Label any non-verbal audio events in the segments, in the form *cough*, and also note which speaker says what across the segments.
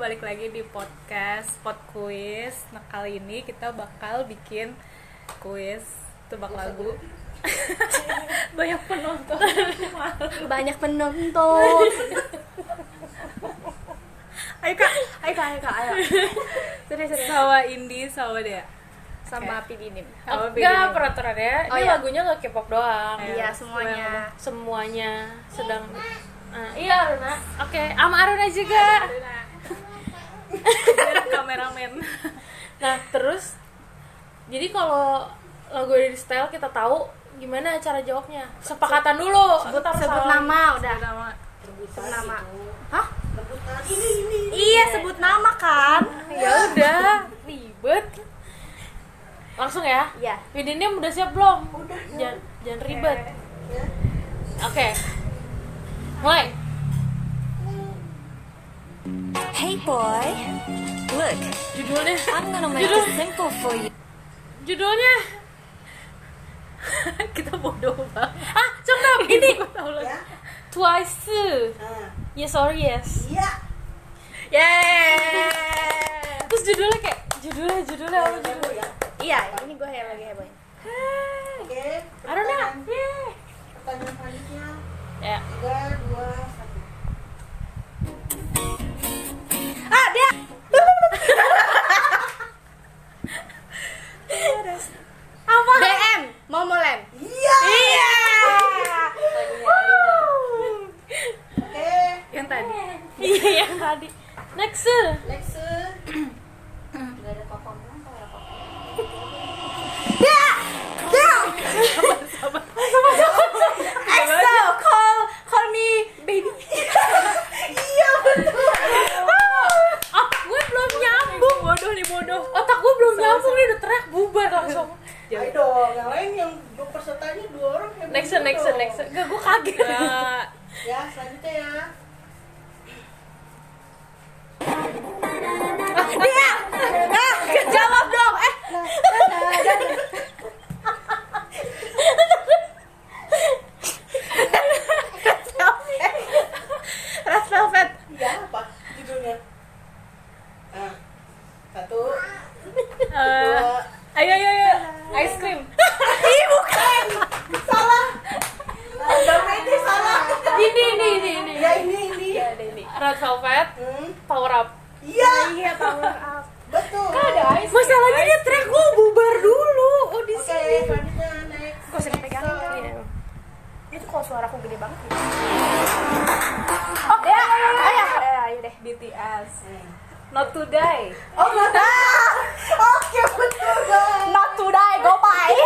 Speaker 1: balik lagi di podcast Pod Quiz. Nah, kali ini kita bakal bikin kuis tebak lagu. Banyak penonton.
Speaker 2: banyak penonton
Speaker 1: Ayo Kak,
Speaker 2: ayo kak ayo kak ayo serius
Speaker 3: ya?
Speaker 2: serius
Speaker 1: sama Indi sama Dea.
Speaker 2: sama api dinim
Speaker 1: Sama
Speaker 3: Enggak
Speaker 1: Bidin.
Speaker 3: peraturannya,
Speaker 2: Oh,
Speaker 3: ini
Speaker 2: iya.
Speaker 3: lagunya gak K-pop doang
Speaker 1: Ayo,
Speaker 2: iya semuanya
Speaker 3: Semuanya sedang Ah, Iya Aruna, oke sama Aruna juga
Speaker 1: Biar kameramen.
Speaker 3: Nah terus, jadi kalau lagu dari style kita tahu gimana cara jawabnya Sepakatan dulu
Speaker 2: sebut,
Speaker 3: Ntar
Speaker 2: sebut
Speaker 3: salah.
Speaker 2: nama udah
Speaker 1: Pertama
Speaker 2: sebut nama hah iya sebut nama kan
Speaker 3: Ya udah, ribet Langsung ya
Speaker 2: iya
Speaker 3: Widinnya udah siap belum? Udah Ya. Jangan, jangan ribet Oke Mulai
Speaker 4: Hey boy, look,
Speaker 3: Judulnya
Speaker 4: I'm gonna make it simple for you.
Speaker 3: Judulnya *laughs*
Speaker 1: kita bodoh banget.
Speaker 3: Ah, contoh
Speaker 4: *laughs*
Speaker 3: ini
Speaker 1: Tahu
Speaker 5: Ya,
Speaker 1: lagi.
Speaker 3: Twice
Speaker 5: nah,
Speaker 3: Yes or yes
Speaker 5: iya.
Speaker 2: yeah
Speaker 3: Terus judulnya kayak Judulnya,
Speaker 2: Ya,
Speaker 3: judulnya apa Nah. judulnya
Speaker 2: iya ini gue yang lagi heboh
Speaker 5: ya. Oke,
Speaker 3: Aruna
Speaker 5: pertanyaan,
Speaker 3: yeay.
Speaker 5: pertanyaan selanjutnya
Speaker 3: Ya
Speaker 5: tiga dua satu.
Speaker 2: ah dia apa dm mau molem
Speaker 5: Iya.
Speaker 2: iya
Speaker 5: Oke,
Speaker 1: Yang tadi.
Speaker 3: *laughs* Iya yang tadi Next
Speaker 5: next. Gak ada kokomu, kalau ada kokomu.
Speaker 2: EXO call call me baby
Speaker 3: Ah, gue belum nyambung
Speaker 1: Bodoh nih bodoh.
Speaker 3: Otak gue belum nyambung nih udah teriak bubar langsung
Speaker 5: Ayo dong, yang lain yang dua pesertanya dua orang. yang
Speaker 3: Next
Speaker 5: bener
Speaker 3: next
Speaker 5: dong.
Speaker 3: next Gak, gue kaget Iya.
Speaker 1: Ya,
Speaker 5: Ya, selanjutnya ya.
Speaker 2: Iya. Ah, jawab dong. Eh,
Speaker 1: Nah,
Speaker 2: Red Velvet.
Speaker 5: Ya apa judulnya? Nah, satu,
Speaker 2: Ah.
Speaker 1: eh,
Speaker 5: dua,
Speaker 1: ayo ayo ayo. Ice cream.
Speaker 5: Ah, damai itu salah.
Speaker 1: Nah.
Speaker 3: Ini ini ini ini
Speaker 5: Ya ini ini.
Speaker 3: Red Velvet
Speaker 5: Hmm,
Speaker 3: Power Up
Speaker 5: Iya,
Speaker 2: Iya, power up.
Speaker 5: betul.
Speaker 3: Masalahnya dia track gue bubar dulu Oh di
Speaker 5: Oke, selanjutnya next.
Speaker 2: Gue sering pegangin kan.
Speaker 5: Next. Hmm.
Speaker 2: Itu kalau suaraku gede banget. gitu. Oke, ayo, ayo, ayo, ayo deh.
Speaker 1: BTS. Not to die.
Speaker 5: Oh, nggak tahu. Oke, betul guys.
Speaker 2: Not today, go bye.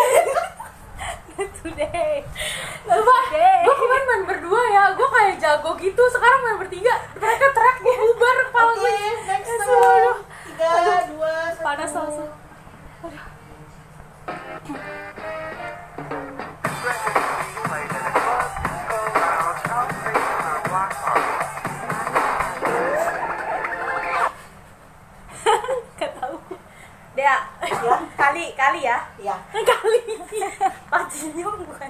Speaker 3: Sumpah, gue kemarin main berdua ya, gue kayak jago gitu Sekarang main bertiga, mereka terak, gue bubar kepala
Speaker 5: Oke,
Speaker 3: gue
Speaker 5: Oh, iya, next
Speaker 3: Aduh,
Speaker 5: round.
Speaker 3: aduh.
Speaker 5: Tiga, dua, satu.
Speaker 1: Panas langsung.
Speaker 2: Dea,
Speaker 5: Iya,
Speaker 2: kali, kali ya.
Speaker 5: Ya.
Speaker 2: Kali. Patinyo bukan.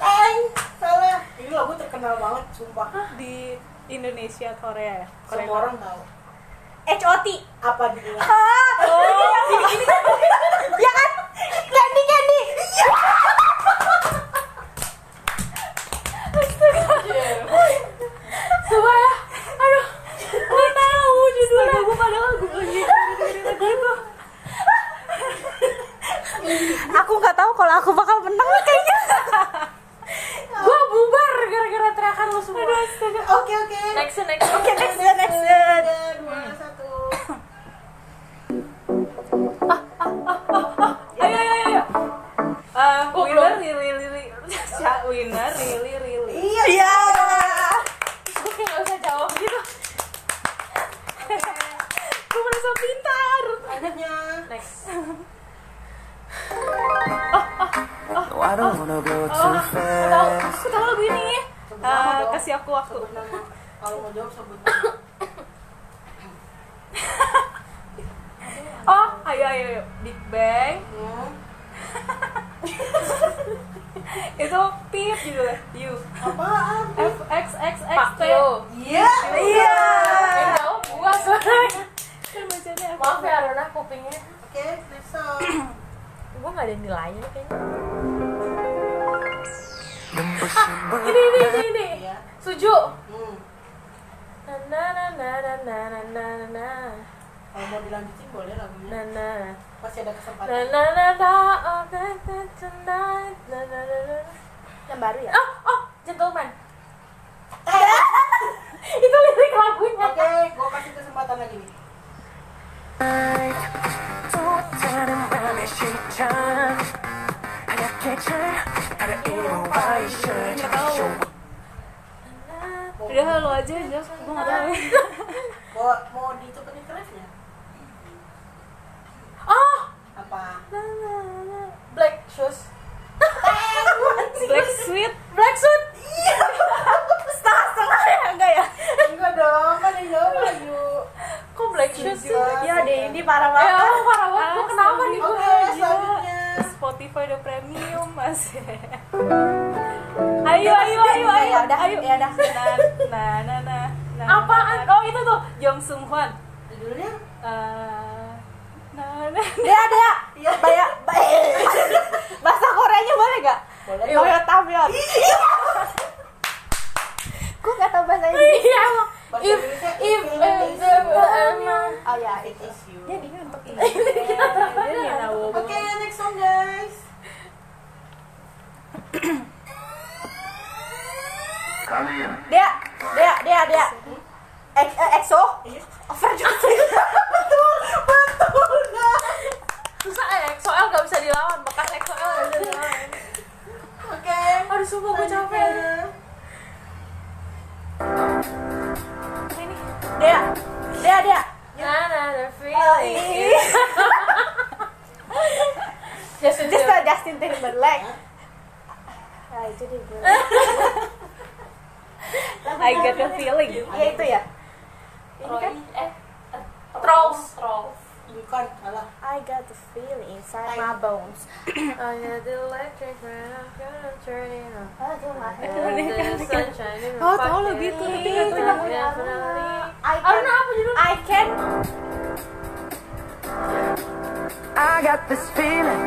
Speaker 5: Teng, salah. Ini lagu terkenal banget, sumpah.
Speaker 1: Di Indonesia Korea ya. Korea.
Speaker 5: Semua orang tahu.
Speaker 2: HOT.
Speaker 5: Apa gitu? judulnya?
Speaker 2: Ah, oh. Gini, gini, ya kan? Candy, candy.
Speaker 3: Sumpah ya, aduh Gue tau judulnya Gue padahal gue lagi
Speaker 2: Aku nggak tahu kalau aku bakal menang kayaknya.
Speaker 3: Gue bubar gara-gara teriakan lo semua
Speaker 5: Oke, oke.
Speaker 3: Next, next
Speaker 2: Oke, next, next. next.
Speaker 5: Tiga, dua, satu.
Speaker 1: Ayo ayo ayo. Eh,
Speaker 3: Oh,
Speaker 1: winner
Speaker 3: belum.
Speaker 1: really really. Ya, winner really really.
Speaker 5: Iya.
Speaker 2: Iya.
Speaker 3: Gue kayak gak usah jawab gitu
Speaker 1: Gue merasa pintar.
Speaker 5: Selanjutnya.
Speaker 3: Next
Speaker 6: No, I don't wanna go too
Speaker 3: Tau,
Speaker 6: fast.
Speaker 3: aku tau lagu ini
Speaker 5: Sebut
Speaker 1: Eh,
Speaker 5: nama dong.
Speaker 1: kasih aku waktu.
Speaker 5: Sebut nama. Kalau mau jawab sebut nama.
Speaker 1: Oh, ayo ayo ayo. Big Bang
Speaker 5: Hmm.
Speaker 1: itu pip gitu lah. You.
Speaker 5: Apaan?
Speaker 1: F X X X
Speaker 3: Pak
Speaker 1: T.
Speaker 3: Yo
Speaker 5: Iya.
Speaker 3: Yang jawab gue sebenernya Maaf ya Arona kupingnya.
Speaker 5: Oke, next song.
Speaker 3: Gue gak ada nilainya nih kayaknya. Ah, Ini ini
Speaker 6: Dembusin
Speaker 3: ini ini.
Speaker 5: Iya.
Speaker 3: Suju.
Speaker 5: Hmm.
Speaker 3: Na na na na na na na na na
Speaker 5: Kalau mau dilanjutin boleh
Speaker 3: na
Speaker 5: lagunya.
Speaker 3: na
Speaker 5: Masih ada kesempatan.
Speaker 3: na na na na all night and tonight na na na na.
Speaker 1: Yang baru ya?
Speaker 3: Oh oh gentleman. Itu lirik lagunya.
Speaker 5: Oke, gua kasih kesempatan lagi nih.
Speaker 6: 쏟아는 밤의 시장 하얗게 잘 가려이는 와이셔 잠시
Speaker 1: Udah lu aja Jos, gue gak tau
Speaker 5: Mau mau dicopot kerasnya? Ah!
Speaker 3: Oh
Speaker 5: Apa?
Speaker 3: na na na black shoes.
Speaker 5: *laughs*
Speaker 1: Black Sweet
Speaker 3: Black suit.
Speaker 1: Setengah-setengah ya? Enggak ya?
Speaker 5: Iya. Enggak dong, kan yang jawab Bayu.
Speaker 3: Kok black shoes sih?
Speaker 5: Juga.
Speaker 1: Ya deh, ini parah
Speaker 3: Ya
Speaker 1: banget
Speaker 3: Allah, parah banget. Gue
Speaker 1: Ah,
Speaker 3: kenapa nih
Speaker 5: Oke,
Speaker 3: gue?
Speaker 5: selanjutnya.
Speaker 1: Spotify udah premium mas *laughs* Ayo, ayo, ayo, ayo Ya udah,
Speaker 3: ayo.
Speaker 1: ya udah Nah, nah, nah, nah
Speaker 3: Apaan? Oh itu tuh.
Speaker 1: Jong Sung Hwan
Speaker 5: Judulnya?
Speaker 1: Eh, nah, nah. Dea, Dea
Speaker 5: Iya.
Speaker 1: Baya, baya. Bahasa Koreanya boleh gak?
Speaker 5: Boleh.
Speaker 1: Toyota Tamion Gue gak tau bahasa Inggris
Speaker 3: Iya emang.
Speaker 5: Bahasa
Speaker 3: If
Speaker 5: Indonesia,
Speaker 3: if
Speaker 5: if
Speaker 3: if
Speaker 5: it is
Speaker 3: the
Speaker 5: you.
Speaker 3: emang.
Speaker 1: Oh ya,
Speaker 5: It is you.
Speaker 1: dia bingung untuk ini Dia gak tau
Speaker 5: Oke, next song guys.
Speaker 1: Dea, Dea, Dea, Dea Ex- eh, EXO Overdose *laughs* Betul, betul
Speaker 3: Susah ya, XOL gak bisa dilawan. Bekas XOL gak bisa dilawan.
Speaker 5: Oke.
Speaker 3: Aduh sumpah gue capek.
Speaker 5: selanjutnya.
Speaker 1: Dea, Dea, Dea
Speaker 3: Nah nah the
Speaker 1: Oh,
Speaker 3: feeling. *laughs*
Speaker 1: ini. Just
Speaker 3: Justin
Speaker 1: a
Speaker 3: Timberlake.
Speaker 1: Justin Timberlake Nah, itu dia
Speaker 3: *laughs*
Speaker 1: gue. I get the feeling Ya itu ya Ini kan
Speaker 3: Trolls.
Speaker 5: Bukan, salah.
Speaker 1: I got the feeling inside my bones.
Speaker 3: I had the electric when I'm gonna turn it on.
Speaker 1: Oh, itu mah.
Speaker 3: The sunshine in my
Speaker 2: Oh, tahu
Speaker 3: pocket.
Speaker 2: lebih tuh, tapi nggak tahu
Speaker 1: lagunya.
Speaker 3: Definitely.
Speaker 1: I can.
Speaker 3: Arna apa judulnya?
Speaker 1: I can.
Speaker 6: I got this feeling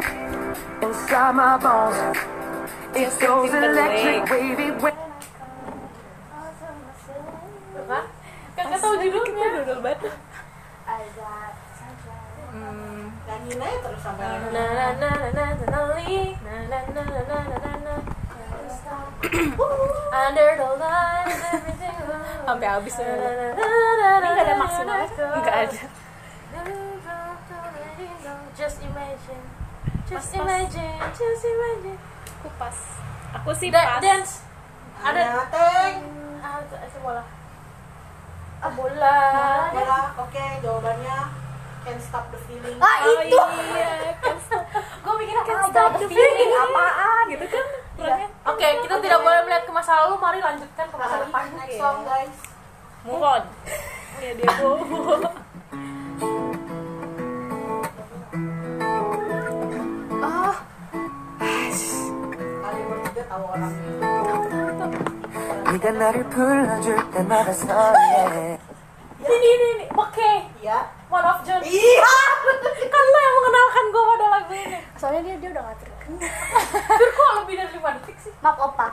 Speaker 6: inside my bones. It goes electric, wavy, wavy.
Speaker 3: Hah? Kakak tahu judulnya.
Speaker 1: I got.
Speaker 5: Nyanyiin aja terus sampai
Speaker 1: Nah,
Speaker 3: Na na na na na na li. na na na na na na na na. Under the light, everything
Speaker 2: sampai habis sebenarnya.
Speaker 3: Ini
Speaker 1: nggak ada maksimal ya?
Speaker 2: nggak ada
Speaker 3: Just imagine, just imagine, just imagine.
Speaker 2: kupas aku sih
Speaker 3: Da-
Speaker 2: pas
Speaker 3: dance.
Speaker 5: Ada
Speaker 3: Ada.
Speaker 5: Teng.
Speaker 3: Ah, itu itu bola. Ah, bola.
Speaker 5: Bola. Oke, jawabannya Can't Stop the Feeling.
Speaker 1: Ah
Speaker 3: Oh,
Speaker 1: itu.
Speaker 3: *laughs*
Speaker 2: iya kan
Speaker 3: Gue mikirnya
Speaker 1: I got the feeling apaan?
Speaker 2: gitu kan
Speaker 1: Iya.
Speaker 3: Oke, kita tidak boleh melihat ke masa lalu. Mari lanjutkan ke masa depan.
Speaker 5: Next song guys.
Speaker 2: move
Speaker 5: *laughs*
Speaker 2: on
Speaker 1: Oh, iya,
Speaker 2: ya dia move
Speaker 1: Ah,
Speaker 5: Kali bertiga Ah. tahu orangnya.
Speaker 6: 네가 나를 불러줄 때마다 설레.
Speaker 3: Ini ini ini. Oke,
Speaker 5: Iya.
Speaker 3: one of John.
Speaker 5: Iya.
Speaker 3: kan lo yang mengenalkan gue pada lagu *laughs* ini
Speaker 1: Soalnya dia dia udah gak terkenal.
Speaker 3: Hampir kok lebih dari 5 detik sih
Speaker 1: Maaf opa.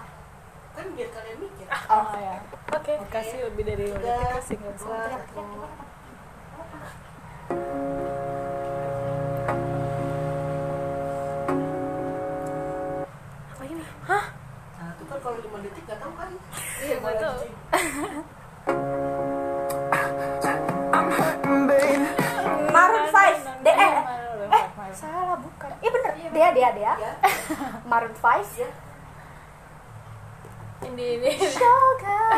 Speaker 5: Kan biar kalian mikir. Ah.
Speaker 1: Oh ya.
Speaker 3: Oke
Speaker 2: kasih lebih dari lima
Speaker 5: Tiga,
Speaker 2: detik kasih nggak usah
Speaker 5: dua, satu kan kalau lima detik nggak tahu kan? Iya, gua
Speaker 3: tahu.
Speaker 5: lanjutin.
Speaker 6: I'm hurting, babe.
Speaker 1: Maroon 5.
Speaker 2: E.
Speaker 1: Dea. Eh, salah bukan. Iya bener. Dea, Dea, Dea.
Speaker 5: Iya.
Speaker 1: Maroon 5.
Speaker 5: Iya.
Speaker 3: Ini ini
Speaker 1: Sugar.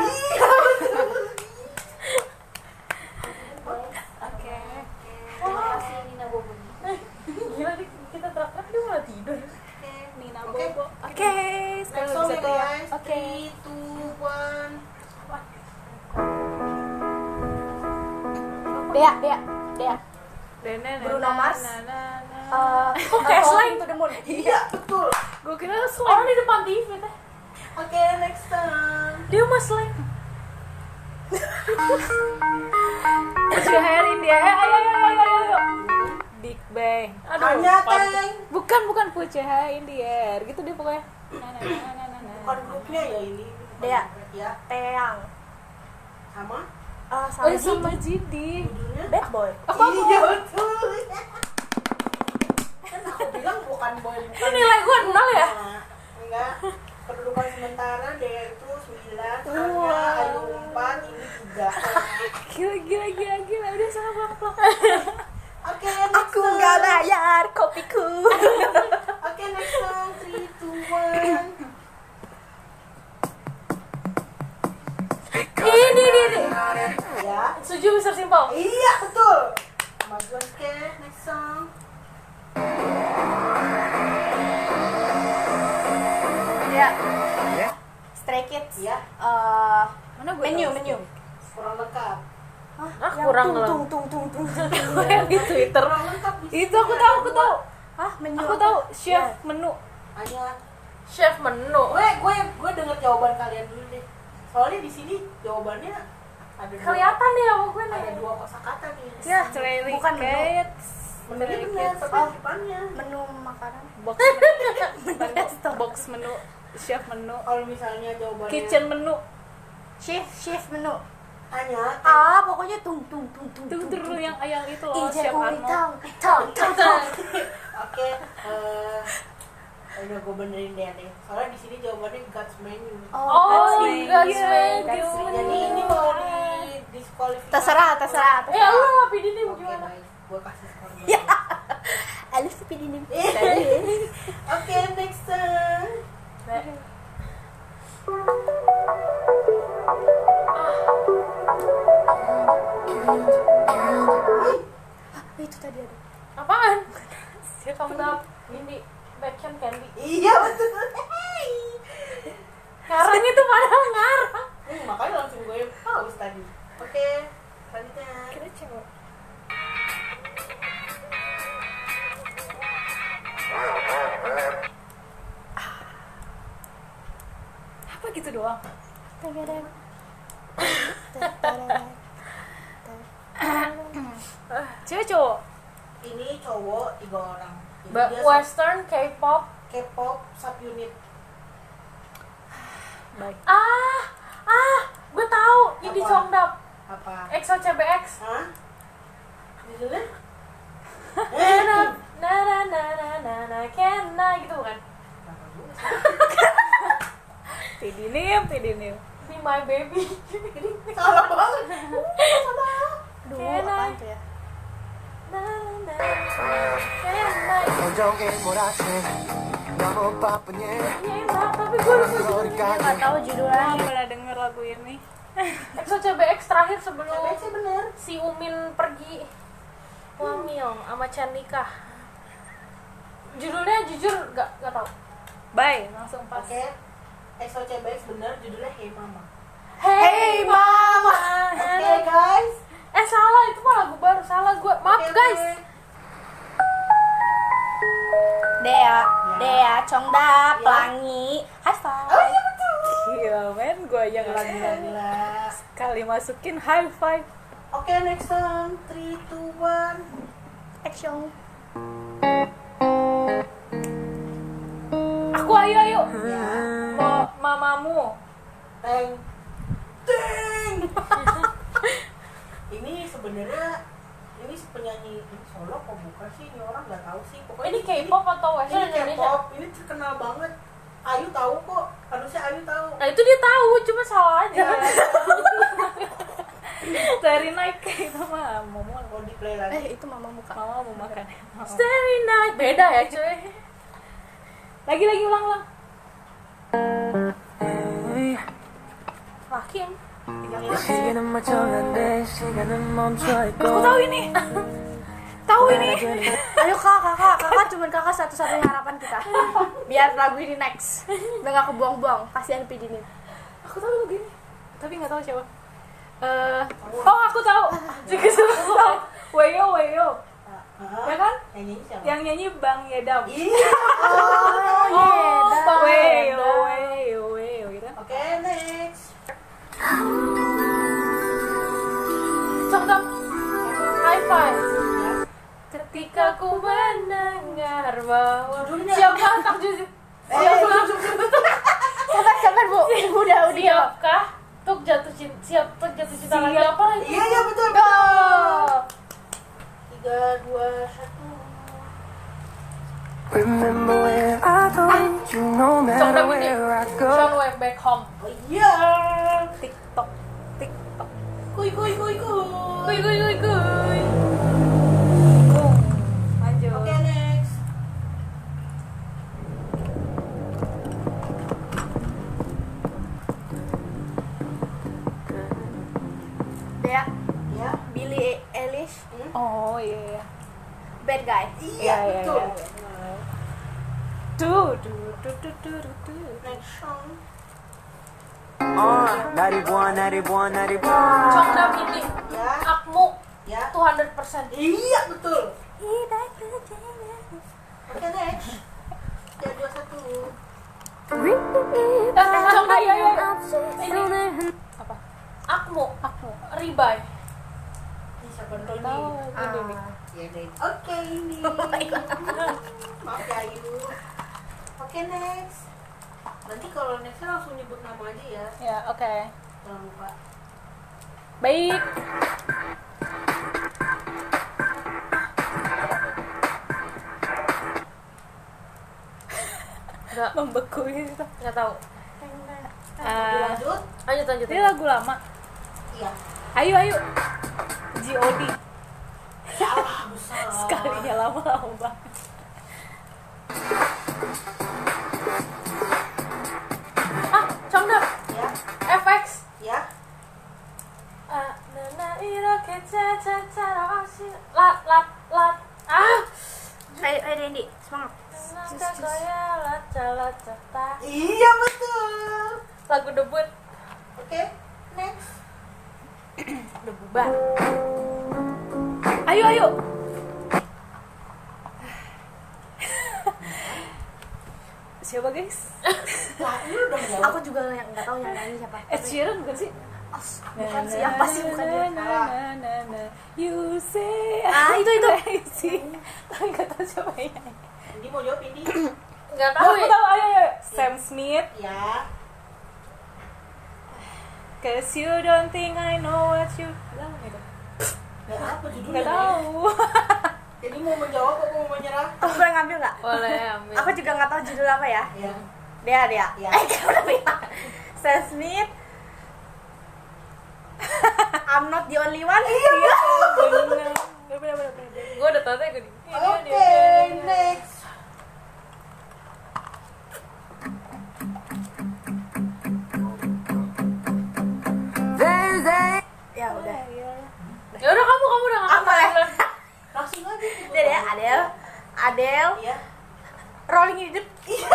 Speaker 5: Oke. Oke. Kasih Nina Bobo.
Speaker 3: Gila nih kita terak-terak dia malah tidur
Speaker 5: Oke.
Speaker 2: Nina
Speaker 5: Oke.
Speaker 2: Bobo
Speaker 1: Oke,
Speaker 5: Next
Speaker 1: sekarang
Speaker 5: song
Speaker 1: bisa
Speaker 5: ya
Speaker 1: tuh ya.
Speaker 5: guys.
Speaker 1: Oke.
Speaker 5: Three, two, one.
Speaker 1: Dea, Dea, Dea.
Speaker 2: Bruno Mars Ah.
Speaker 1: Eh,
Speaker 3: Gaslight.
Speaker 1: to the moon.
Speaker 5: *laughs* Iya, betul.
Speaker 2: gue kira
Speaker 3: Orang di depan TV teh
Speaker 5: Oke, next song.
Speaker 3: Dia mah slang
Speaker 2: Put your hand in the air.
Speaker 1: Eh,
Speaker 3: Ayo ayo ayo ayo ayo
Speaker 1: Big Bang.
Speaker 3: Aduh,
Speaker 5: Hanya teng
Speaker 1: Bukan bukan Puceha in the air. Gitu dia pokoknya. Na, na, na, na, na, na.
Speaker 5: Bukan grupnya ya ini
Speaker 2: Dea.
Speaker 5: Ya
Speaker 2: Teang.
Speaker 5: sama
Speaker 2: Ah,
Speaker 1: Oh,
Speaker 2: sama
Speaker 3: iya,
Speaker 1: ya
Speaker 2: Jin.
Speaker 1: sama Jidi.
Speaker 5: judulnya
Speaker 2: Bad boy.
Speaker 5: Iya betul Kan aku bilang bukan boy bukan
Speaker 3: nilai gue nol ya?
Speaker 5: Nah, Enggak Kedudukan sementara Dea itu 9 Hanya Ayu 4 Ini 3
Speaker 1: Gila gila gila gila udah sama Bang Plak.
Speaker 5: Oke next
Speaker 2: Aku
Speaker 5: song.
Speaker 2: nggak bayar kopiku.
Speaker 5: *laughs* Oke next song 3, 2, 1
Speaker 3: Ini, ini, ini.
Speaker 5: Ya
Speaker 3: Suju Mr. Simple.
Speaker 5: Iya betul. Kemajuan ke next song.
Speaker 2: Iya. Stray Kids.
Speaker 5: Iya,
Speaker 2: Eh,
Speaker 1: Mana gue?
Speaker 2: menu,
Speaker 1: tahu?
Speaker 2: menu.
Speaker 5: kurang lengkap.
Speaker 3: Ah, kurang lah.
Speaker 2: tung, tung, tung, tung, tung.
Speaker 1: Gue yang di Twitter.
Speaker 5: Kurang lengkap di
Speaker 1: Itu
Speaker 5: sini
Speaker 1: aku
Speaker 5: ada
Speaker 1: tahu, aku
Speaker 5: dua.
Speaker 1: tahu.
Speaker 2: Hah, menu.
Speaker 1: Aku
Speaker 2: apa?
Speaker 1: tahu chef menu.
Speaker 5: Hanya
Speaker 3: Chef menu.
Speaker 5: gue gue gue denger jawaban kalian dulu deh. Soalnya di sini jawabannya ada dua,
Speaker 3: Kelihatan ya, nih sama gue nih.
Speaker 5: ada dua kosakata nih.
Speaker 2: Ya, bukan
Speaker 1: Bukan
Speaker 2: menu.
Speaker 5: Benernya *laughs* bener, tapi
Speaker 2: Oh.
Speaker 5: di depannya.
Speaker 2: Menu makanan.
Speaker 1: Box menu. Box menu. Chef menu.
Speaker 5: Kalau misalnya jawabannya
Speaker 1: Kitchen menu.
Speaker 2: *laughs* Shift, shift menu.
Speaker 5: hanya
Speaker 2: Ah, pokoknya tung, tung, tung, tung,
Speaker 1: Tuh tuh tuh, yang yang itu
Speaker 3: oh,
Speaker 1: loh
Speaker 3: Iya,
Speaker 2: Ijen
Speaker 1: Chef
Speaker 2: uri
Speaker 1: Arnold.
Speaker 2: tang, tang, tang, tang.
Speaker 3: *laughs*
Speaker 5: oke eh udah gue benerin deh deh. Soalnya di sini jawabannya God's menu.
Speaker 2: Oh,
Speaker 3: Oh,
Speaker 2: that's me.
Speaker 3: God's
Speaker 1: Iya,
Speaker 3: menu.
Speaker 2: that's me.
Speaker 5: Jadi ini mau di diskualifikasi.
Speaker 2: Terserah, terserah,
Speaker 3: Ya
Speaker 2: terserah.
Speaker 3: Allah, tapi ini
Speaker 5: Oke,
Speaker 3: gimana?
Speaker 5: baik. Gue kasih skor dulu.
Speaker 2: Alif pilih ini.
Speaker 5: Oke, next song.
Speaker 2: Ah, Itu tadi ada.
Speaker 3: Apaan? Dia kamu tau ini backchain candy.
Speaker 5: Iya betul. Hey.
Speaker 3: Karang itu padahal ngarang.
Speaker 5: Nih, Hmm, makanya langsung gue paus tadi. Oke, selanjutnya.
Speaker 2: Ah.
Speaker 1: Apa gitu doang?
Speaker 2: *laughs*
Speaker 1: Cewek cowok.
Speaker 5: Ini cowok tiga orang. Jadi
Speaker 3: Ba-
Speaker 5: dia
Speaker 3: Western K-pop.
Speaker 5: sub- K-pop sub unit.
Speaker 1: Baik.
Speaker 3: Ah, ah, gue tahu. Ini
Speaker 5: Apa?
Speaker 3: Chongdap.
Speaker 5: Apa?
Speaker 3: EXO CBX.
Speaker 5: Hah? Judulnya?
Speaker 3: Na
Speaker 5: Eh,
Speaker 3: na na na na na na can I gitu bukan?
Speaker 5: kenapa gue?
Speaker 1: Pidinim, pidinim.
Speaker 3: Be my baby. *laughs*
Speaker 5: Salah banget.
Speaker 2: Duh,
Speaker 3: Can I?
Speaker 2: apaan tuh ya?
Speaker 3: Na na na can I?
Speaker 6: 표정에 몰아친 너무 바쁜 일
Speaker 3: Iya enak, tapi gue lupa judulnya.
Speaker 2: Gak tahu judulnya.
Speaker 1: Gak pernah denger lagu ini.
Speaker 3: EXO CBX terakhir sebelum
Speaker 5: Coba sih bener.
Speaker 3: si Umin pergi Wamil sama Chan nikah. Judulnya jujur gak, gak tau.
Speaker 1: Bye, langsung pas.
Speaker 5: Oke. EXO CBX bener judulnya Hey Mama.
Speaker 3: Hey, mama.
Speaker 5: Oke, guys.
Speaker 3: Eh salah itu mah lagu baru salah gue. Maaf
Speaker 5: Oke,
Speaker 3: guys.
Speaker 5: oke.
Speaker 2: Dea, Dea, Chongdap, Pelangi, High
Speaker 5: Oh
Speaker 2: Five.
Speaker 5: iya betul.
Speaker 1: Gila Iya, men, gue aja lagi
Speaker 5: Gila.
Speaker 1: Kali masukin high five.
Speaker 5: Oke, next song. 3, 2, 1.
Speaker 2: Action.
Speaker 3: Aku ayo ayo. Mau mamamu.
Speaker 5: Ya. Teng. Teng. ini sebenarnya ini penyanyi ini solo kok bukan sih? Ini orang nggak tahu sih. Pokoknya
Speaker 3: Ini K-pop atau
Speaker 5: Ini,
Speaker 3: Western
Speaker 5: ini
Speaker 3: Indonesia?
Speaker 5: K-pop. Ini terkenal banget. Ayu tahu kok. Harusnya Ayu tahu.
Speaker 3: Nah itu dia tahu, cuma salah aja.
Speaker 1: *laughs* Dari naik itu mah mau mau
Speaker 5: Mau di play lagi.
Speaker 2: Eh, itu mama muka.
Speaker 1: mama mau *laughs* makan. Mau.
Speaker 3: Starry night beda ya cuy.
Speaker 1: Lagi lagi ulang ulang.
Speaker 3: Makin.
Speaker 5: Yang ini
Speaker 6: 시계는 멀쩡한데 시간은 멈춰있고
Speaker 1: Aku tahu ini. tahu ini.
Speaker 2: Ayo kak, kakak, kakak cuman kakak satu-satunya harapan kita. Biar lagu ini next. Biar gak kebuang-buang. Kasihan Pidini.
Speaker 1: Aku tahu lagu ini. Tapi nggak tahu siapa. Eh, oh aku tahu. Juga suka tahu. Wayo Wayo.
Speaker 5: Hah?
Speaker 1: Ya kan?
Speaker 5: Nah, Yang nyanyi siapa?
Speaker 1: Yang nyanyi Bang Yedam.
Speaker 5: Iya.
Speaker 2: iya,
Speaker 1: Oh, Bang Wayo Wayo Wayo gitu.
Speaker 5: Oke, next.
Speaker 3: Contoh. High five. Ketika ku
Speaker 2: *laughs* dijawab.
Speaker 3: siapkah untuk jatuh cinta Iya. siap untuk jatuh cinta lagi
Speaker 2: Siap.
Speaker 3: apa lagi
Speaker 5: Iya iya betul betul.
Speaker 2: Go.
Speaker 5: Tiga dua satu.
Speaker 6: Remember when I told you no matter
Speaker 3: Sobrang ini.
Speaker 6: where I
Speaker 3: Sean
Speaker 6: go.
Speaker 3: Wayne back home
Speaker 5: Oh, Iya.
Speaker 1: TikTok TikTok
Speaker 5: Kuy kuy kuy kuy.
Speaker 3: kuy kuy kuy kuy
Speaker 1: lanjut
Speaker 5: Oke next.
Speaker 2: Dea,
Speaker 5: Ya.
Speaker 2: Billy Eilish,
Speaker 1: oh iya iya
Speaker 2: bad guy.
Speaker 5: Iya
Speaker 1: iya,
Speaker 5: betul.
Speaker 1: iya. Duh, duh, duh, duh, duh, duh, duh.
Speaker 5: Next song.
Speaker 6: Uh, 91, 91, 91.
Speaker 3: Chong Dam ini
Speaker 5: Ya.
Speaker 3: akmu
Speaker 5: Ya.
Speaker 3: 200%
Speaker 5: Iya betul. Oke next. Tiga dua satu.
Speaker 3: eh Chong Dam ini apa akmu akmu ribai
Speaker 5: Ini siapa dulu nih?
Speaker 3: tahu Ah. gue Dewi.
Speaker 5: Oke
Speaker 1: *laughs*
Speaker 5: ini.
Speaker 1: Oh
Speaker 5: Maaf ya Ayu. Oke next. Nanti kalau nextnya langsung nyebut nama aja ya.
Speaker 1: ya oke
Speaker 5: Jangan lupa.
Speaker 1: baik
Speaker 3: Enggak.
Speaker 1: membeku gitu
Speaker 3: nggak tahu
Speaker 1: Ah,
Speaker 5: Lanjut.
Speaker 3: lanjut lanjut
Speaker 1: ini lagu lama
Speaker 5: Iya.
Speaker 1: ayo ayo G.O.D
Speaker 5: Salah besar.
Speaker 1: sekalinya lama-lama banget
Speaker 3: ah Chong Dam
Speaker 5: Ya.
Speaker 3: FX
Speaker 5: Ya.
Speaker 3: Ah, na, na, iro, ke, cha, cha, cha, ra, o, si, lat lat lat ah
Speaker 2: Ayo, ayo Eh, Randy, semangat.
Speaker 3: Na, ka, goya, lat, cha, lat, cha, ta.
Speaker 5: Iya betul.
Speaker 3: lagu debut
Speaker 5: Oke next.
Speaker 3: debut ban
Speaker 1: ayo ayo *laughs* siapa guys
Speaker 5: Wah ini udah jawab.
Speaker 2: Aku juga yang nggak tahu yang nyanyi siapa.
Speaker 1: Ed Eh, Sheeran bukan sih
Speaker 2: Oh, bukan sih, apa sih bukan dia?
Speaker 1: na, na, na, na, you say *laughs*
Speaker 2: Ah, itu, itu.
Speaker 1: crazy. tapi nggak tahu siapa yang nyanyi
Speaker 5: Ini mau jawab
Speaker 1: *clears throat*
Speaker 5: ini.
Speaker 3: nggak tahu
Speaker 1: aku
Speaker 3: ya
Speaker 1: tahu ayo ayo Sam Smith
Speaker 5: ya.
Speaker 1: Cause you don't think I know what you love gitu.
Speaker 5: Gak apa judulnya.
Speaker 1: Gak tahu
Speaker 5: Nek? Jadi mau menjawab apa mau menyerah?
Speaker 2: Aku boleh ngambil nggak?
Speaker 3: boleh ambil
Speaker 2: Aku juga nggak tahu judul apa ya.
Speaker 5: Ya.
Speaker 2: Dea, Dea.
Speaker 1: *laughs*
Speaker 5: Ya.
Speaker 2: Eh, kamu udah bilang. Sam Smith. *laughs* I'm not the only one. Iya.
Speaker 1: Bener, bener, bener, bener.
Speaker 3: gue udah tahu gue
Speaker 5: Oke next.
Speaker 6: There's a
Speaker 2: Ya udah.
Speaker 3: ya udah kamu kamu udah nggak
Speaker 2: Apa ya?
Speaker 5: Langsung aja.
Speaker 2: Dea, Dea, Adele. Adele.
Speaker 5: Iya.
Speaker 2: Rolling in the Deep.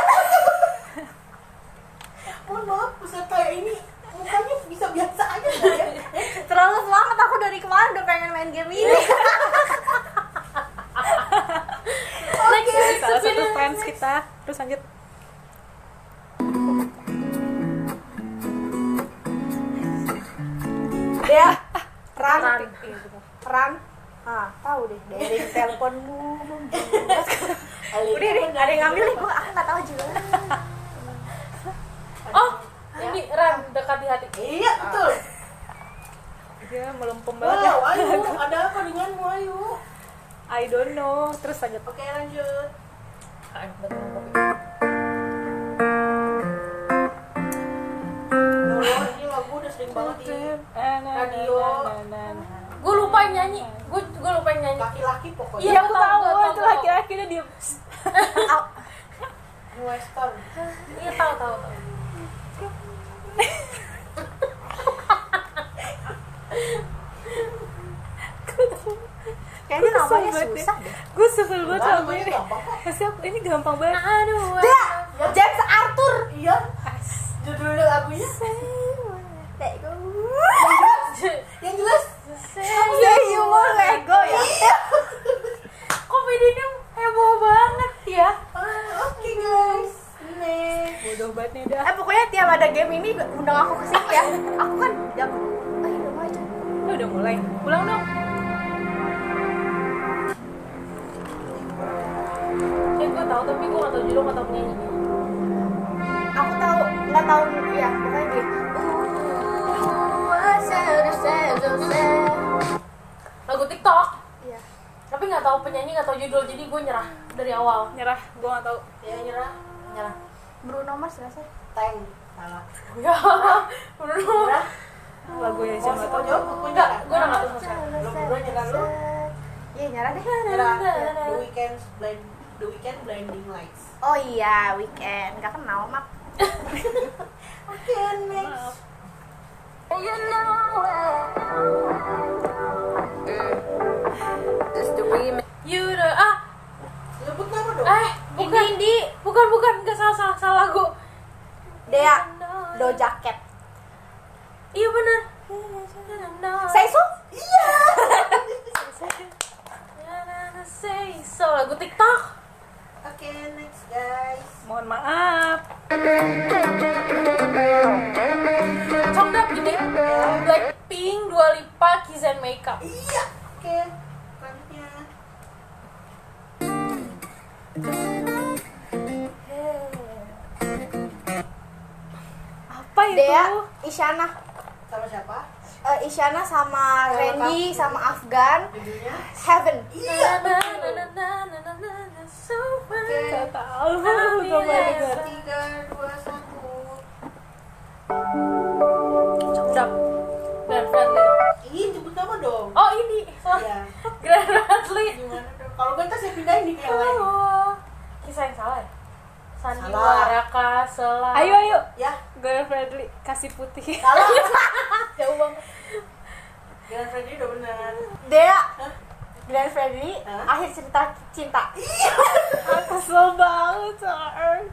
Speaker 5: Mohon Oh, maaf peserta yang ini mukanya bisa biasa aja nggak ya?
Speaker 2: *laughs* Terlalu semangat aku dari kemarin udah pengen main game ini.
Speaker 3: next
Speaker 1: Dari salah satu fans kita terus lanjut
Speaker 2: Dea. Run.
Speaker 3: Run.
Speaker 2: Run. Ah, tahu deh dari teleponmu. Udah
Speaker 5: Iya,
Speaker 2: deh, ada yang ngambil nih, gua aku nggak tahu juga.
Speaker 3: oh ini ran dekat di hati
Speaker 5: Iya betul.
Speaker 1: dia melempem banget ya
Speaker 5: Wow, Ayu, ada apa denganmu Ayu?
Speaker 1: I don't know terus lanjut
Speaker 5: Oke lanjut.
Speaker 3: Ah, betul.
Speaker 5: Oh, ini lagu udah sering banget di Radio.
Speaker 3: gue lupa yang nyanyi gue gue lupa yang nyanyi
Speaker 5: laki-laki pokoknya.
Speaker 1: Iya aku tahu
Speaker 3: Tahu, tahu,
Speaker 1: itu
Speaker 3: tahu.
Speaker 1: laki-laki dia diem.
Speaker 5: Western.
Speaker 3: iya tahu tahu tahu
Speaker 2: Kayaknya
Speaker 1: Susah
Speaker 2: namanya
Speaker 1: banget ya.
Speaker 2: susah deh.
Speaker 1: Gue sebel banget
Speaker 5: Enggak,
Speaker 1: sama
Speaker 5: namanya
Speaker 1: ini.
Speaker 5: gampang kok.
Speaker 1: Pasti aku ini gampang banget.
Speaker 3: Nah, aduh
Speaker 2: Dea,
Speaker 5: Ya.
Speaker 2: James Arthur.
Speaker 5: Iya. Judulnya lagunya
Speaker 2: Let go.
Speaker 5: yang jelas
Speaker 2: Say
Speaker 5: Eh, iya,
Speaker 2: you will let go
Speaker 5: *laughs*
Speaker 2: ya.
Speaker 3: komedinya heboh banget ya
Speaker 5: Ah, Oke guys, next.
Speaker 1: Bodoh banget nih dah.
Speaker 2: Eh pokoknya tiap ada game ini undang aku ke sini ya. Aku kan jam Ayo udah mau aja.
Speaker 1: Lo Eh, udah mulai. Pulang dong.
Speaker 3: ya gue tahu tapi gue nggak tahu judul nggak tahu penyanyinya
Speaker 2: Aku tahu nggak tahu ya pokoknya gini. Iya.
Speaker 3: tahu penyanyi nggak tahu judul jadi gue nyerah dari awal
Speaker 1: nyerah gue gak tau
Speaker 5: Ya nyerah.
Speaker 3: nyerah *laughs*
Speaker 2: Bruno Mars nggak sih?
Speaker 5: Teng. Salah.
Speaker 3: ya menurut
Speaker 5: Nyerah.
Speaker 1: lagunya
Speaker 5: Mau
Speaker 1: siapa
Speaker 5: mau
Speaker 1: tau
Speaker 5: jawab buku
Speaker 3: enggak
Speaker 5: enggak?
Speaker 3: gue udah nggak tahu sama
Speaker 5: Lu berdua nyerah lu.
Speaker 2: Iya nyerah deh.
Speaker 5: Nyerah. The weekend blind The weekend blinding lights.
Speaker 2: Oh iya, weekend. Gak kenal, Mak.
Speaker 5: Oke, next.
Speaker 3: you the ah
Speaker 5: Sebut nama dong.
Speaker 3: eh bukan di bukan bukan nggak salah salah salah lagu
Speaker 2: Dea, do jaket.
Speaker 3: iya benar
Speaker 2: Saya su? Iya. *laughs*
Speaker 3: say so lagu TikTok
Speaker 5: Oke, next guys.
Speaker 1: mohon maaf
Speaker 3: Congdap gitu Blackpink Dua Lipa Kiss and Makeup
Speaker 5: Iya. Oke. Selanjutnya.
Speaker 1: apa itu
Speaker 2: Dea, Isyana.
Speaker 5: Sama siapa?
Speaker 2: Eh, Isyana sama Randy sama Afgan.
Speaker 5: Judulnya?
Speaker 2: Heaven.
Speaker 5: Iya.
Speaker 3: Na,
Speaker 5: betul.
Speaker 3: na, na, na, na, na, na, na, so fun.
Speaker 5: Oke.
Speaker 1: gak tau
Speaker 3: Amin.
Speaker 1: gue gak dengar
Speaker 5: Tiga, dua, satu.
Speaker 3: Congdap Glenn Fredly
Speaker 5: Ih, sebut nama dong.
Speaker 3: Oh ini Salah.
Speaker 5: Iya.
Speaker 3: Glenn Fredly
Speaker 5: Gimana dong? Kalau bentar saya pindahin nih ke yang lain.
Speaker 3: Oh, Kisah yang salah ya? Sandiwara
Speaker 5: Salah.
Speaker 3: Kasela
Speaker 1: ayo ayo
Speaker 5: Ya,
Speaker 1: Glenn Fredly kasih putih
Speaker 5: salah. Jauh banget. Jalan Freddy udah benar.
Speaker 2: Dea, Glenn Fredly.
Speaker 5: Hah?
Speaker 2: Akhir cerita cinta.
Speaker 1: *laughs* kesel banget sorry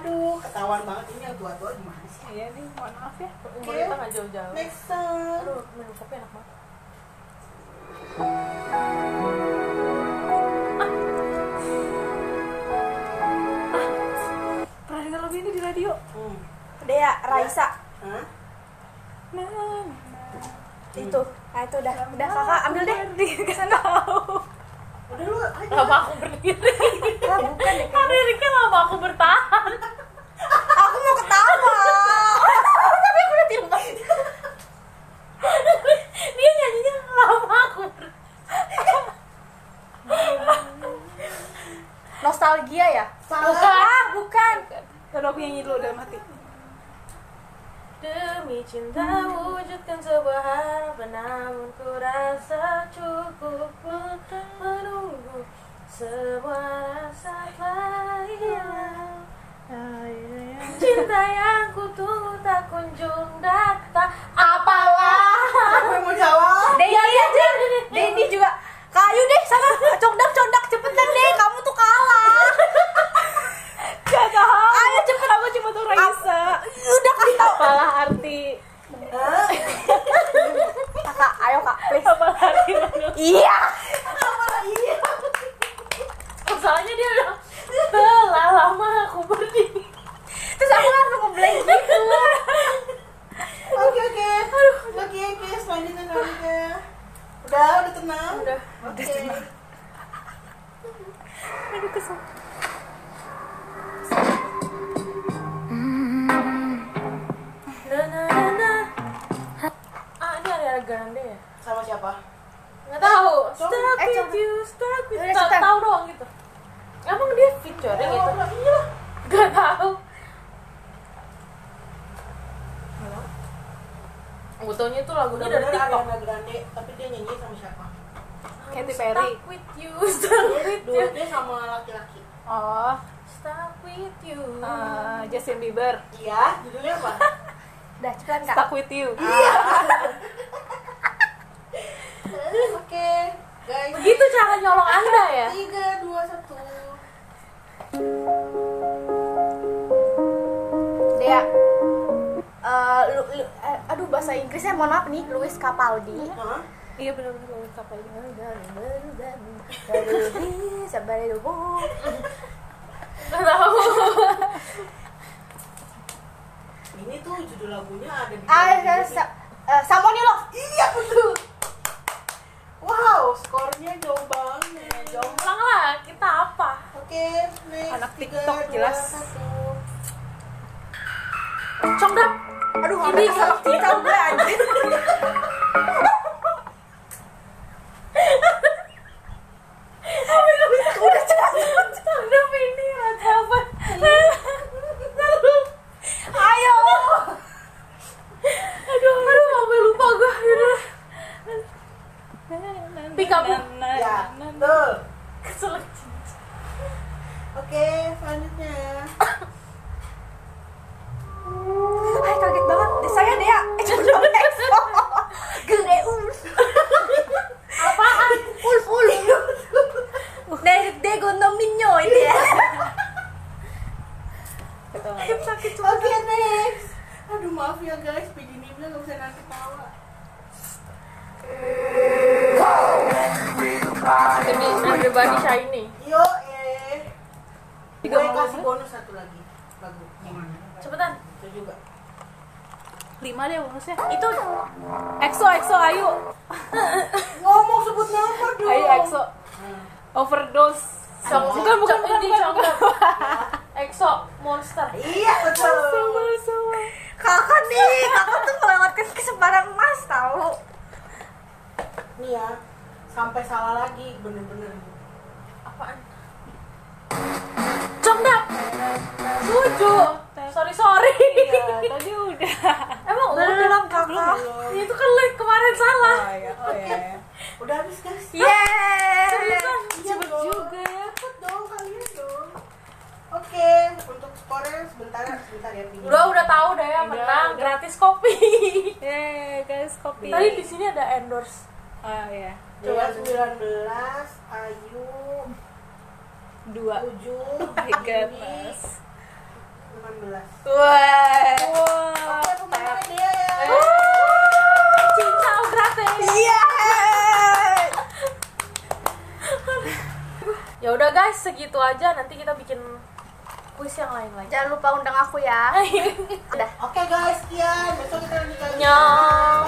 Speaker 5: Aduh, ketahuan banget ini yang tua-tua gimana sih?
Speaker 1: iya nih mohon maaf ya
Speaker 3: Umur kita nggak jauh-jauh
Speaker 5: Next song.
Speaker 3: Aduh, minum kopi enak banget
Speaker 1: pernah dengar lagu ini di radio
Speaker 5: Hmm.
Speaker 2: Dea, Raisa.
Speaker 5: Hah?
Speaker 1: nah
Speaker 2: Itu. Nah, itu udah. Udah kakak ambil deh.
Speaker 1: gak tau
Speaker 5: Udah lu aja.
Speaker 3: Lama aku berdiri
Speaker 2: Ah, bukan deh.
Speaker 3: Kan liriknya lama aku bertahan
Speaker 2: Aku mau *laughs* ketawa. Tapi aku udah tiru banget.
Speaker 3: Dia nyanyinya lama aku bertahan
Speaker 2: Nostalgia ya?
Speaker 5: Salah.
Speaker 2: Ah, bukan.
Speaker 1: Taruh aku nyanyi dulu udah mati
Speaker 3: Demi cinta wujudkan sebuah harapan Namun ku rasa cukup untuk menunggu Semua rasa telah hilang Cinta yang ku tunggu tak kunjung datang Apalah
Speaker 5: Siapa yang mau jawab?
Speaker 2: Dedi aja. Dedi juga. Kayu deh sama condak condak cepetan deh. Kamu tuh kalah.
Speaker 1: gak tau ayo cepet *laughs* aku cuma tuh Raisa
Speaker 2: Udah kasih tau.
Speaker 1: apalah arti
Speaker 5: Hah?
Speaker 2: Kak, ayo kak, please.
Speaker 1: apalah arti manusia
Speaker 2: Iya.
Speaker 3: Masalahnya dia udah telah lama aku berdiri
Speaker 2: Terus aku langsung ngeblank gitu.
Speaker 5: Oke, oke. Oke, oke. Selanjutnya, selanjutnya. Udah, udah tenang. Udah. Oke.
Speaker 3: Na na na na nah, Ah ini ada Grande ya?
Speaker 5: Sama siapa?
Speaker 3: Nggak tahu.
Speaker 5: Coba.
Speaker 3: Stuck
Speaker 2: Eh,
Speaker 3: with
Speaker 2: coba.
Speaker 3: you, stuck with
Speaker 2: Udah,
Speaker 3: you. Tak
Speaker 2: cepetan.
Speaker 3: tahu doang gitu. Emang dia featuring
Speaker 5: Oh,
Speaker 3: gitu?
Speaker 5: udah, iya.
Speaker 3: Nggak tahu. Gue taunya itu lagunya
Speaker 5: Udah
Speaker 3: dari
Speaker 5: benar
Speaker 3: TikTok.
Speaker 5: Ariana Grande, tapi dia nyanyi sama siapa?
Speaker 1: Katy Perry.
Speaker 3: Stuck with you, stuck
Speaker 5: Dia
Speaker 3: with you,
Speaker 5: duetnya sama laki-laki.
Speaker 1: oh
Speaker 3: stuck with you.
Speaker 1: eh, Justin Bieber
Speaker 5: Iya, judulnya apa?
Speaker 2: Udah cepetan kak.
Speaker 1: Stuck with you
Speaker 5: Oke, guys.
Speaker 3: Begitu Gitu cara nyolong anda ya?
Speaker 5: Tiga, dua, satu.
Speaker 2: Dea. Eh, lu, lu, eh, aduh bahasa Inggrisnya mohon maaf nih Luis Capaldi
Speaker 5: Hah?
Speaker 1: iya benar-benar lagu kapal ini
Speaker 2: Sabar dulu
Speaker 3: Nggak tahu.
Speaker 5: Ini tuh judul lagunya ada di.
Speaker 2: Ah, eh, sa- eh, Someone You Love
Speaker 5: Iya betul. Wow, skornya jauh banget. Jauh.
Speaker 3: Ulang lah, kita apa?
Speaker 5: Oke, next.
Speaker 1: Anak
Speaker 5: Tiga,
Speaker 1: TikTok
Speaker 5: dua,
Speaker 1: jelas.
Speaker 5: satu.
Speaker 3: Congdap.
Speaker 2: Aduh, ini salah cinta gue anjir
Speaker 3: gitu.
Speaker 1: Iya.
Speaker 5: Ya,
Speaker 2: Korea jodoh EXO gede ulf apaan ulf ulf dari dego no minyo itu ya
Speaker 1: Gitu.
Speaker 5: Oke next. Aduh maaf ya guys, begini bilang nggak bisa nanti tawa.
Speaker 3: Demi everybody shiny.
Speaker 5: Yo eh. Gue kasih bonus satu lagi lagu. ya? Gimana?
Speaker 3: Cepetan.
Speaker 5: Itu juga.
Speaker 3: Lima deh bonusnya. Itu EXO EXO ayo.
Speaker 5: Ngomong sebut nama dong.
Speaker 3: Ayo EXO. Overdose. Song- bukan bukan bukan bukan. bukan. EXO Monster.
Speaker 5: Iya betul.
Speaker 2: kakak nih kakak tuh melewatkan kesempatan emas tahu
Speaker 5: Nih ya, sampai salah lagi *laughs* bener-bener.
Speaker 3: Apaan? Congdap. Suju. Sorry sorry.
Speaker 1: Iya, tadi udah.
Speaker 3: Emang udah.
Speaker 2: belum kakak
Speaker 3: Itu kan live kemarin salah.
Speaker 1: Oh ya, oh ya.
Speaker 5: Udah habis guys.
Speaker 2: yeay
Speaker 3: Seriusan? Cepet
Speaker 5: dong.
Speaker 3: Eh, juga ya.
Speaker 5: Cepet dong kalian dong. Oke, untuk skornya sebentar sebentar ya Pini.
Speaker 3: Udah udah tahu deh yang
Speaker 1: Udah,
Speaker 3: menang
Speaker 1: udah.
Speaker 3: gratis kopi.
Speaker 1: Yeay, guys, kopi.
Speaker 3: Tadi di sini ada endorse.
Speaker 1: Oh ya.
Speaker 5: Coba 19 Ayu
Speaker 1: Dua.
Speaker 5: 7
Speaker 1: Tiga
Speaker 5: Pini,
Speaker 1: plus.
Speaker 5: 18.
Speaker 2: Wah.
Speaker 1: Eh, Wow.
Speaker 5: Oke, pemenangnya dia ya.
Speaker 3: Cincau gratis.
Speaker 2: Yeay.
Speaker 3: *laughs* Ya udah guys, segitu aja nanti kita bikin kuis yang lain
Speaker 2: *laughs*
Speaker 3: lagi.
Speaker 2: Jangan lupa undang aku ya. Udah.
Speaker 5: Oke guys, sekian. Besok kita lanjut lagi.
Speaker 3: Nyong.